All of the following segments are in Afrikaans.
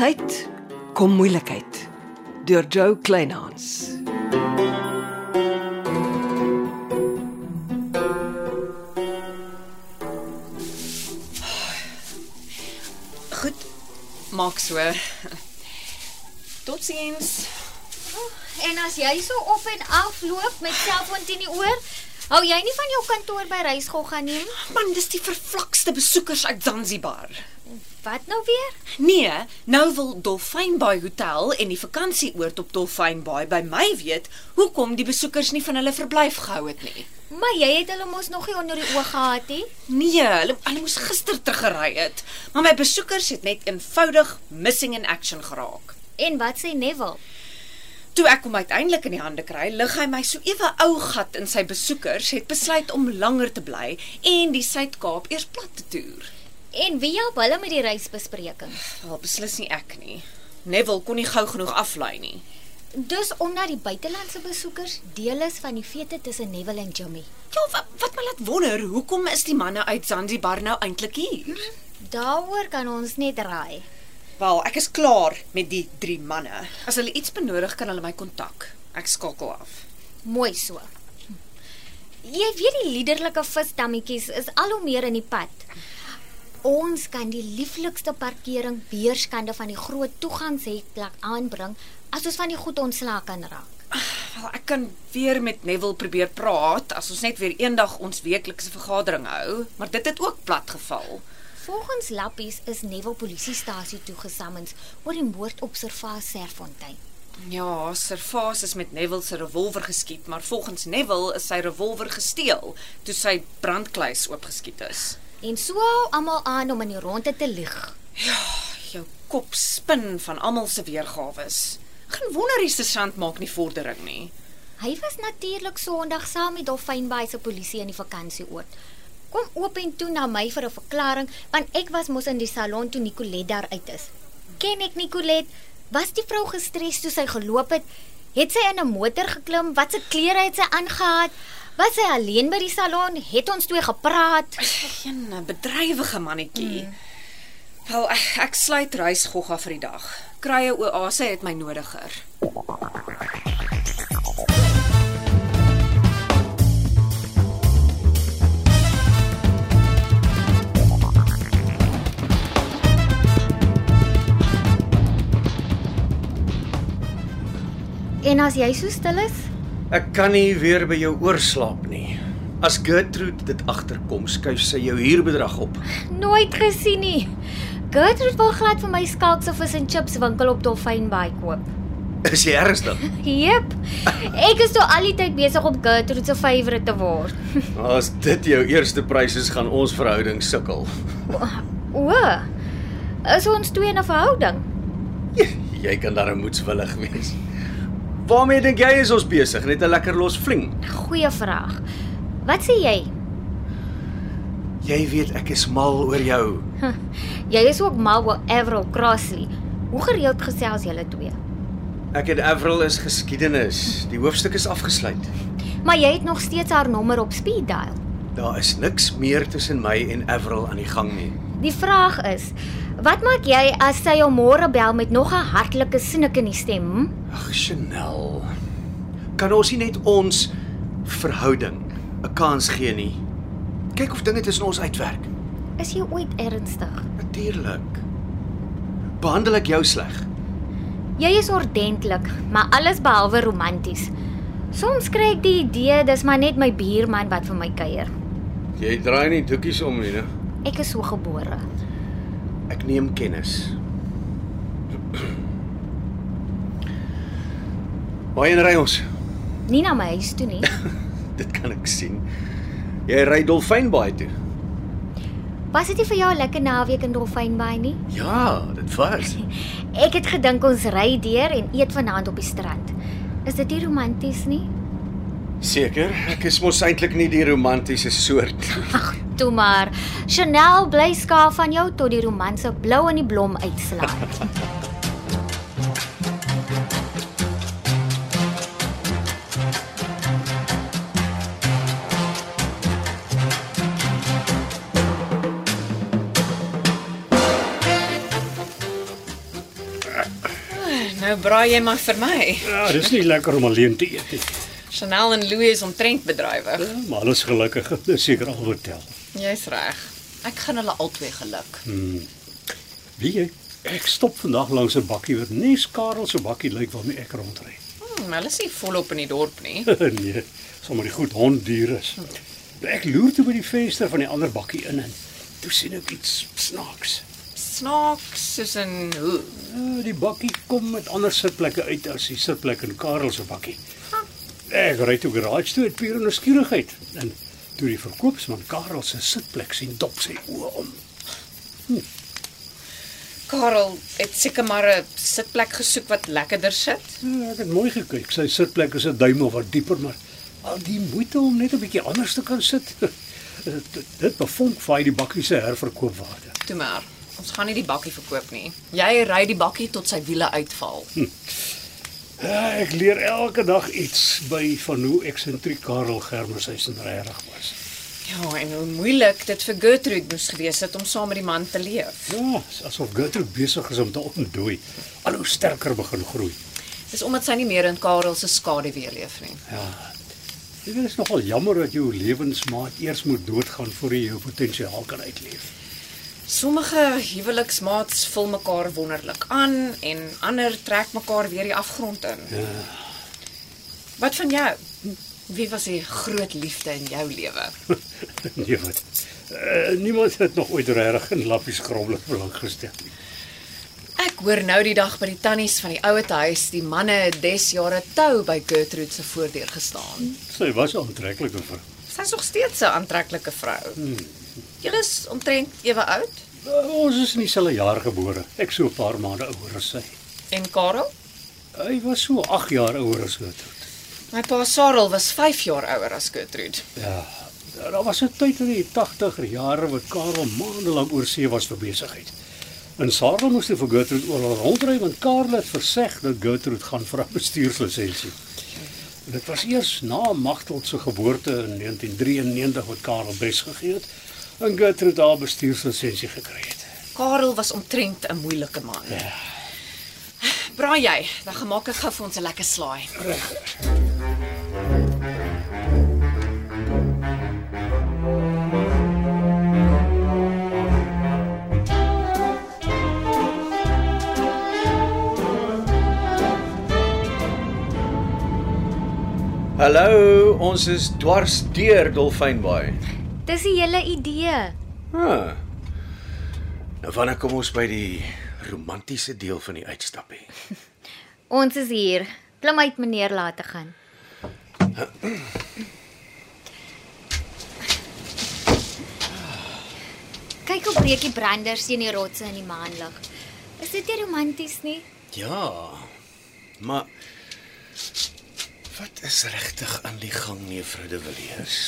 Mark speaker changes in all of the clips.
Speaker 1: Uit kom moeilikheid deur Joe Kleinhans.
Speaker 2: Goed. Maak so. Totsiens.
Speaker 3: En as jy so op en af loop met selfoon teen die oor, hou jy nie van jou kantoor by Reisgogga nie?
Speaker 2: Man, dis die vervlakste besoekers uit Zanzibar.
Speaker 3: Wat nou weer?
Speaker 2: Nee, nou wil Dolfyn Bay Hotel en die vakansieoord op Dolfyn Bay by my weet hoekom die besoekers nie van hulle verblyf gehou het nie.
Speaker 3: Maar jy het hulle mos nog nie onder die oog gehad nie.
Speaker 2: Nee, hulle hulle moes gister teruggery het, maar my besoekers het net eenvoudig missing in action geraak.
Speaker 3: En wat sê Neville?
Speaker 2: Toe ek hom uiteindelik in die hande kry, lig hy my so ewe ou gat in sy besoekers het besluit om langer te bly en die Suid-Kaap eers plat te toer.
Speaker 3: En wie help hulle met die reisbespreking?
Speaker 2: Wel, beslis nie ek nie. Neville kon nie gou genoeg aflei nie.
Speaker 3: Dis omdat die buitelandse besoekers deel is van die fete tussen Neville en Jimmy.
Speaker 2: Ja, wat, wat my laat wonder, hoekom is die manne uit Zanzibar nou eintlik hier?
Speaker 3: Daaroor kan ons net raai.
Speaker 2: Wel, ek is klaar met die drie manne. As hulle iets benodig, kan hulle my kontak. Ek skakel af.
Speaker 3: Mooi so. Jy weet die liederlike visstammetjies is al hoe meer in die pad. Ons kan die lieflikste parkering beerskande van die groot toegangshekplek aanbring as ons van die goed ontslae kan raak.
Speaker 2: Wel, ek kan weer met Neville probeer praat as ons net weer eendag ons weeklikse vergadering hou, maar dit het ook plat geval.
Speaker 3: Volgens Lappies is Neville polisiestasie toegesamens oor die moord op Servaas Serfontein.
Speaker 2: Ja, Servaas is met Neville se revolver geskiet, maar volgens Neville is sy revolver gesteel toe sy brandkluis oopgeskiet is.
Speaker 3: En so hou almal aan om in die ronde te lieg.
Speaker 2: Jou kop spin van almal se weergawe. Geen wonder die sergeant maak nie vordering nie.
Speaker 3: Hy was natuurlik Sondag saam met Dolfyn Bay se polisie in die vakansieoord. Kom oop en toe na my vir 'n verklaring want ek was mos in die salon toe Nicolet daar uit is. Ken ek Nicolet? Was die vrou gestres toe sy geloop het? Het sy in 'n motor geklim? Wat se klere het sy aangehad? Was sy alleen by die salon? Het ons twee gepraat?
Speaker 2: Geen bedrywige mannetjie. Mm. Wel, ek, ek sluit reis gogga vir die dag. Krye oase het my nodiger.
Speaker 3: En as jy so stil is,
Speaker 4: Ek kan nie weer by jou oorslaap nie. As Gertrude dit agterkom, skuif sy jou huurbedrag op.
Speaker 3: nooit gesien nie. Gertrude wil glad vir my skalkse vis en chips winkel op Dolfyn Bay koop.
Speaker 4: Is jy ernstig?
Speaker 3: Jep. Ek is toe al die tyd besig om Gertrude se favourite te word.
Speaker 4: As dit jou eerste prys is, gaan ons verhouding sukkel.
Speaker 3: O. Is ons twee in 'n verhouding?
Speaker 4: Jy kan darem moedswillig wees. Waarmee dink jy is ons besig? Net 'n lekker los fling.
Speaker 3: Goeie vraag. Wat sê jy?
Speaker 4: Jy weet ek is mal oor jou.
Speaker 3: Jy is ook mal oor Avril Crossley. Hoe gereeld gesels julle twee?
Speaker 4: Ek en Avril is geskiedenis. Die hoofstuk is afgesluit.
Speaker 3: Maar jy het nog steeds haar nommer op speed dial.
Speaker 4: Daar is niks meer tussen my en Avril aan die gang nie.
Speaker 3: Die vraag is, wat maak jy as sy jou môre bel met nog 'n hartlike snik in die stem? hm?
Speaker 4: Ag, Chanel. Kan ons nie net ons verhouding 'n kans gee nie? Kyk of dinge tussen ons uitwerk.
Speaker 3: Is jy ooit ernstig?
Speaker 4: Natuurlik. Behandel ek jou sleg?
Speaker 3: Jy is ordentlik, maar alles behalwe romanties. Soms kry ek die idee dis maar net my buurman wat vir my kuier.
Speaker 4: Jy draai nie doekies om nie, né?
Speaker 3: Ek is so gebore.
Speaker 4: Ek neem kennis. Waarheen ry ons?
Speaker 3: Nie na my huis toe nie.
Speaker 4: Dit kan ek sien. Jy ry Dolfynbaai toe.
Speaker 3: Was dit nie vir jou 'n lekker naweek in Dolfynbaai nie?
Speaker 4: Ja, dit was.
Speaker 3: Ek het gedink ons ry deur en eet vanaand op die strand. Is dit nie romanties nie?
Speaker 4: Seker, ek is mos eintlik nie die romantiese soort.
Speaker 3: Ag, toe maar. Chanel bly skaaf van jou tot die romanse blou in die blom uitslaai.
Speaker 2: Nou braai jy maar vir my.
Speaker 5: Ja, dis nie lekker om alleen te eet nie.
Speaker 2: Chanel en Louis is omtrent bedrywig.
Speaker 5: Ja, Maar hulle is gelukkig, hulle is seker al vertel.
Speaker 2: Jy's reg. Ja. Hm. Ek gaan hulle albei geluk.
Speaker 5: Wie jy? Ek stop vandag langs 'n bakkie wat nie Karel se bakkie lyk waarmee ek rondry.
Speaker 2: Hmm, hulle is nie volop in die dorp nie.
Speaker 5: nee, sommer die goed hond duur is. Ek loer toe by die venster van die ander bakkie in en toe sien ek iets snaaks.
Speaker 2: Snaaks soos 'n hoe.
Speaker 5: Ja, die bakkie kom met ander sitplekke uit as die sitplek in Karel se bakkie. Ek ry toe garage toe uit pure nuuskierigheid en toe die verkoopsman Karel se sitplek sien dop sy oë om.
Speaker 2: Karel het seker maar 'n sitplek gesoek wat lekkerder sit.
Speaker 5: Ja, ek het mooi gekyk. Sy sitplek is 'n duim of wat dieper, maar al die moeite om net 'n bietjie anders te kan sit. dit, dit bevonk vaai die bakkie se herverkoopwaarde.
Speaker 2: Toe maar. Ons gaan nie die bakkie verkoop nie. Jy ry die bakkie tot sy wiele uitval.
Speaker 5: Ja, ek leer elke dag iets by van hoe eksentriek Karel Germer sy sin regtig was.
Speaker 2: Ja, en hoe moeilik dit vir Gertrude moes gewees het om saam met die man te leef.
Speaker 5: Ja, is asof Gertrude besig is om te ontdooi, al hoe sterker begin groei.
Speaker 2: Dis omdat sy nie meer in Karel se skade weer leef nie.
Speaker 5: Ja. Dit is nogal jammer dat jou lewensmaat eers moet doodgaan voor jy jou potensiaal kan uitleef.
Speaker 2: Sommige huweliksmaats vul mekaar wonderlik aan en ander trek mekaar weer die afgrond in. Ja. Wat van jou? Wie was die groot liefde in jou lewe?
Speaker 5: nee wat. Uh, niemand het nog ooit regtig in lappies grommelik belang gestel nie.
Speaker 2: Ek hoor nou die dag by die tannies van die ouete huis, die manne het des jare tou by Gertrude se voordeur gestaan.
Speaker 5: Sy was 'n aantreklike vrou.
Speaker 2: Sy's nog steeds 'n aantreklike vrou. Julle is omtrent ewe oud
Speaker 5: Uh, ons is in dieselfde jaar gebore. Ek so 'n paar maande ouer as sy.
Speaker 2: en Karel,
Speaker 5: Hy was so 8 jaar ouer as Gertrude.
Speaker 2: my pa Sarel was 5 jaar ouer as Gertrude.
Speaker 5: Ja. Daar was 'n tyd in die 80er jare wat Karel maande lank oor see was vir besigheid. En Sarah moes toe vir Gertrude oral rondry want Karel het verseg dat Gertrude gaan vir 'n bestuurslisensie. Dit was eers na Magteld se geboorte in 1993 wat Karel bes gegee het en Gertrude haar bestuurslisensie gekry het.
Speaker 2: Karel was omtrent 'n moeilike man. Ja. Braai jy, dan gemaak ek gou vir ons 'n lekker slaai.
Speaker 4: Hallo, ons is dwars deur Dolfynbaai.
Speaker 3: Dis die hele idee.
Speaker 4: Huh. Nou wanneer kom ons by die romantiese deel van die uitstappie?
Speaker 3: Ons is hier. Klim uit meneer laat te gaan. Kyk hoe breek die branders teen die rotse in die maanlig. Is dit nie romanties nie?
Speaker 4: Ja. Maar wat is regtig aan die gang, mevrou de Villiers?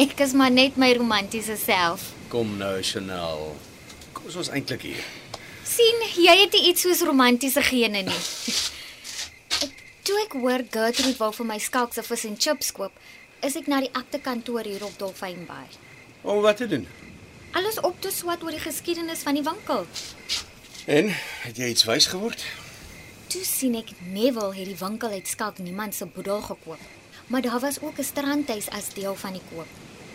Speaker 3: Ek is maar net my romantiese self.
Speaker 4: Kom nou, Chanel. Kom ons was eintlik hier.
Speaker 3: sien jy het nie iets soos romantiese gene nie. Toe ek hoor Gertrude wou vir my skalkse vis en chips koop, is ek na die akte kantoor hier op Dolfynbaai.
Speaker 4: Om wat te doen?
Speaker 3: Alles op te swat oor die geskiedenis van die winkel.
Speaker 4: En het jy iets wys geword?
Speaker 3: Toe sien ek Neville het die winkel uit skalk niemand se boedel gekoop, maar daar was ook 'n strandhuis as deel van die koop.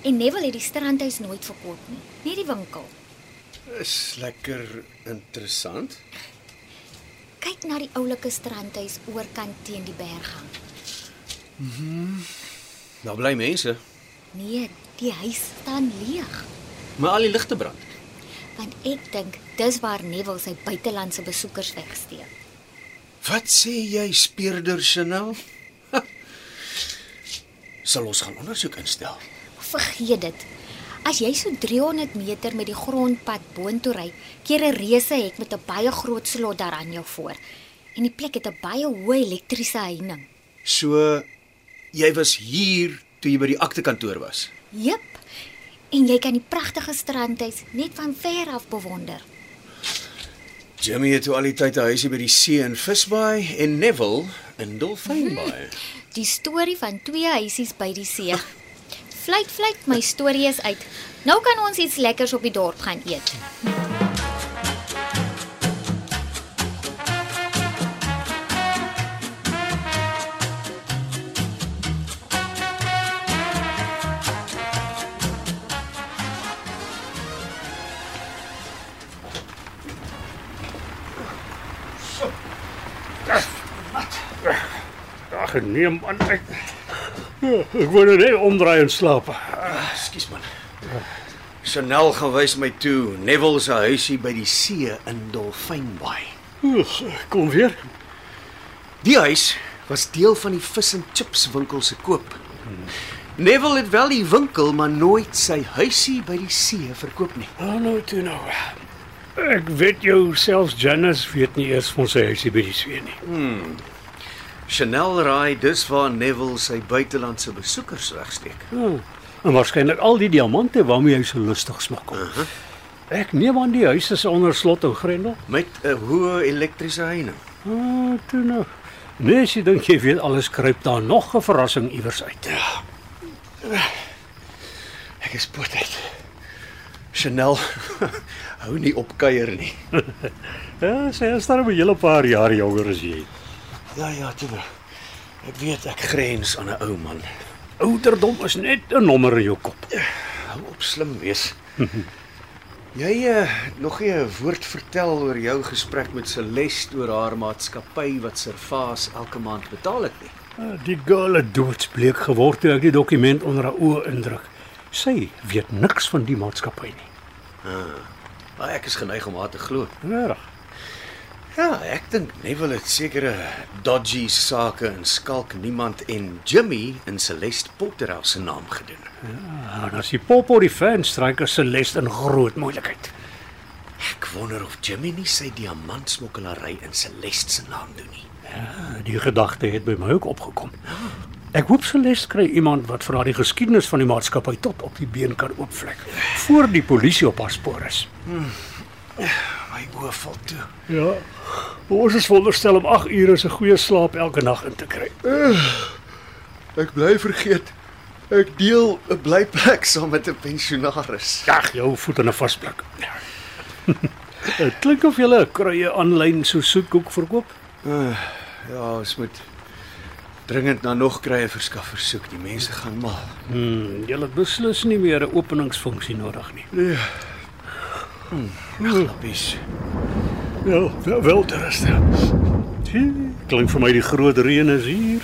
Speaker 3: En Neville het die strandhuis nooit verkoop nie, net die winkel.
Speaker 4: Is lekker interessant.
Speaker 3: Kyk na die oulike strandhuis oorkant teen die berghang.
Speaker 4: Daar Nou bly mense,
Speaker 3: Nee, die huis staan leeg.
Speaker 4: maar al die ligte brand.
Speaker 3: want ek dink dis waar Neville sy buitelandse besoekers wegsteek.
Speaker 4: Wat sê jy, speurder Chanel? Ha. Sal ons gaan ondersoek instel?
Speaker 3: Vergeet dit. As jy so 300 meter met die grondpad boontoe ry, keer 'n reuse hek met 'n baie groot slot daaraan jou voor. En die plek het 'n baie hoë elektriese heining.
Speaker 4: So jy was hier toe jy by die akte kantoor was.
Speaker 3: Jep. En jy kan die pragtige strandhuis net van ver af bewonder.
Speaker 4: Jimmy het toe al die tyd 'n huisie by die see in Visbaai en Neville in Dolfynbaai.
Speaker 3: Die storie van twee huisies by die see. Vlieg, vlieg, my storie is uit. Nou kan ons iets lekkers op die dorp gaan eet.
Speaker 5: Ag nee man, ek Ja, ek wou net omdraai en slaap.
Speaker 4: Ekskuus Ah, man. Chanel gaan wys my toe Neville se huisie by die see in Dolfynbaai.
Speaker 5: Oeg, Kom weer.
Speaker 4: Die huis was deel van die vis en chips winkel se koop. Neville het wel die winkel, maar nooit sy huisie by die see verkoop nie.
Speaker 5: Hallo toe nou. Ek weet jou selfs Janice weet nie eers van sy huisie by die see nie.
Speaker 4: Chanel raai dis waar Neville sy buitelandse besoekers wegsteek.
Speaker 5: Hmm. En waarskynlik al die diamante waarmee hy so lustig smokkel. Uh -huh. Ek neem aan die huis is onder slot en grendel.
Speaker 4: Met 'n hoë elektriese heining.
Speaker 5: Ah, toe nou. Nee, as jy dink jy weet alles kruip daar nog 'n verrassing iewers uit. Ja.
Speaker 4: Ek is potheid. Chanel hou nie op kuier nie.
Speaker 5: Ja, sy is daar 'n hele paar jaar jonger as jy.
Speaker 4: Ja ja, toe. Ek weet ek grens aan 'n ou man.
Speaker 5: Ouderdom is net 'n nommer in jou kop.
Speaker 4: Hou op slim wees. Jy uh, nog nie 'n woord vertel oor jou gesprek met Celeste oor haar maatskappy wat Servaas elke maand betaal het nie.
Speaker 5: Ah, Die girl het doodsbleek geword toe ek die dokument onder haar oë indruk. Sy weet niks van die maatskappy nie.
Speaker 4: Maar Ah, ek is geneig om haar te glo.
Speaker 5: Regtig.
Speaker 4: Ja, ek dink Neville het sekere dodgy sake in skalk niemand en Jimmy in Celeste Potterhouse se naam gedoen.
Speaker 5: Nou, as die popo die fanstryker Celeste in groot moeilikheid.
Speaker 4: Ek wonder of Jimmy nie sy diamantsmokkelary in Celeste se naam doen nie.
Speaker 5: Ah, Die gedagte het by my ook opgekom. Ek hoop Celeste kry iemand wat vir haar die geskiedenis van die maatskappy tot op die been kan oopvlek voor die polisie op haar spoor is.
Speaker 4: My oë val toe.
Speaker 5: Ja. Ons is veronderstel om 8 ure se goeie slaap elke nag in te kry.
Speaker 4: Ek bly vergeet. Ek deel 'n blyplek saam met 'n pensionaris.
Speaker 5: Jag jou voet in 'n vasblik. Dit Ja. klink of jy 'n kruie aanlyn so soetkoek verkoop.
Speaker 4: Ja, ons moet dringend na nog krye verskaffer soek. Die mense gaan mal.
Speaker 5: Hmm, jy het beslis nie meer 'n openingsfunksie nodig nie.
Speaker 4: Glappies.
Speaker 5: Ja, wel, wel terste. Klink vir my die groot reën is hier.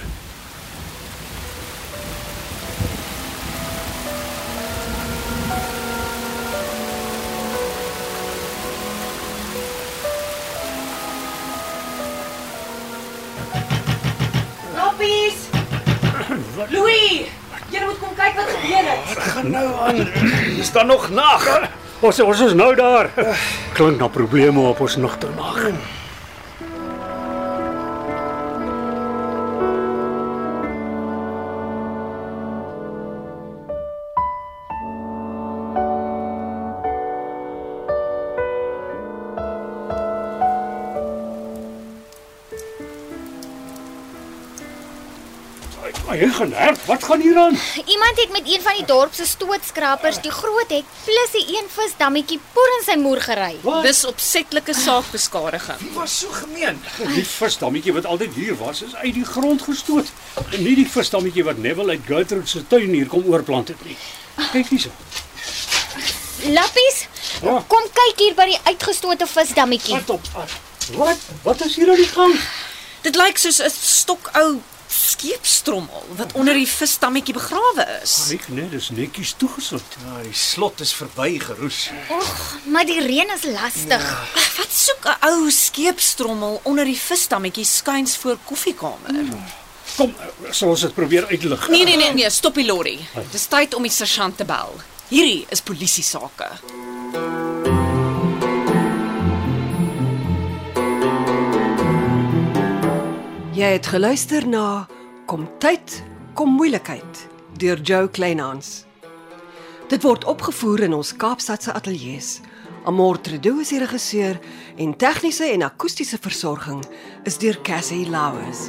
Speaker 6: Knoppies! Louis, jy moet kom kyk wat gebeur het.
Speaker 4: Gaan nou aan. Is daar nog nag?
Speaker 5: Ons ons is nou daar. Hmm. Klink na probleme op ons nagtermaag. Maar jy gaan hard. Wat gaan hier aan?
Speaker 3: Iemand het met een van die dorp se stootskrapers die groot hek plus die een visdammetjie poer in sy moer gery.
Speaker 2: Dis opsetlike saakbeskadiging.
Speaker 4: Dit was so gemeen.
Speaker 5: Die visdammetjie wat altyd hier was, is uit die grond gestoot. En nie die visdammetjie wat Neville uit Gertrude se tuin hier kom oorplant het nie. Kyk hierso.
Speaker 3: Lappies,
Speaker 5: Ja.
Speaker 3: kom kyk hier by die uitgestote visdammetjie.
Speaker 5: Wat op. aan. Wat? Wat is hier aan die gang?
Speaker 2: Dit lyk soos 'n stokou skeepstrommel wat onder die visstammetjie begrawe is.
Speaker 5: Kyk net, dis netjies toegesit.
Speaker 4: Ja, die slot is verby geroes.
Speaker 3: Maar die reën is lastig.
Speaker 2: Wat soek 'n ou skeepstrommel onder die visstammetjie skuins voor koffiekamer?
Speaker 5: Kom, sal ons dit probeer uitlig.
Speaker 2: Nee nee nee nee, stop die lorry. Dis tyd om die sergeant te bel. Hierdie is polisie sake.
Speaker 1: Jy het geluister na Kom tyd, kom moeilikheid deur Jo Kleinhans. Dit word opgevoer in ons Kaapstadse ateljee se. Amortredo is die regisseur en tegniese en akoestiese versorging is deur Cassie Lauers.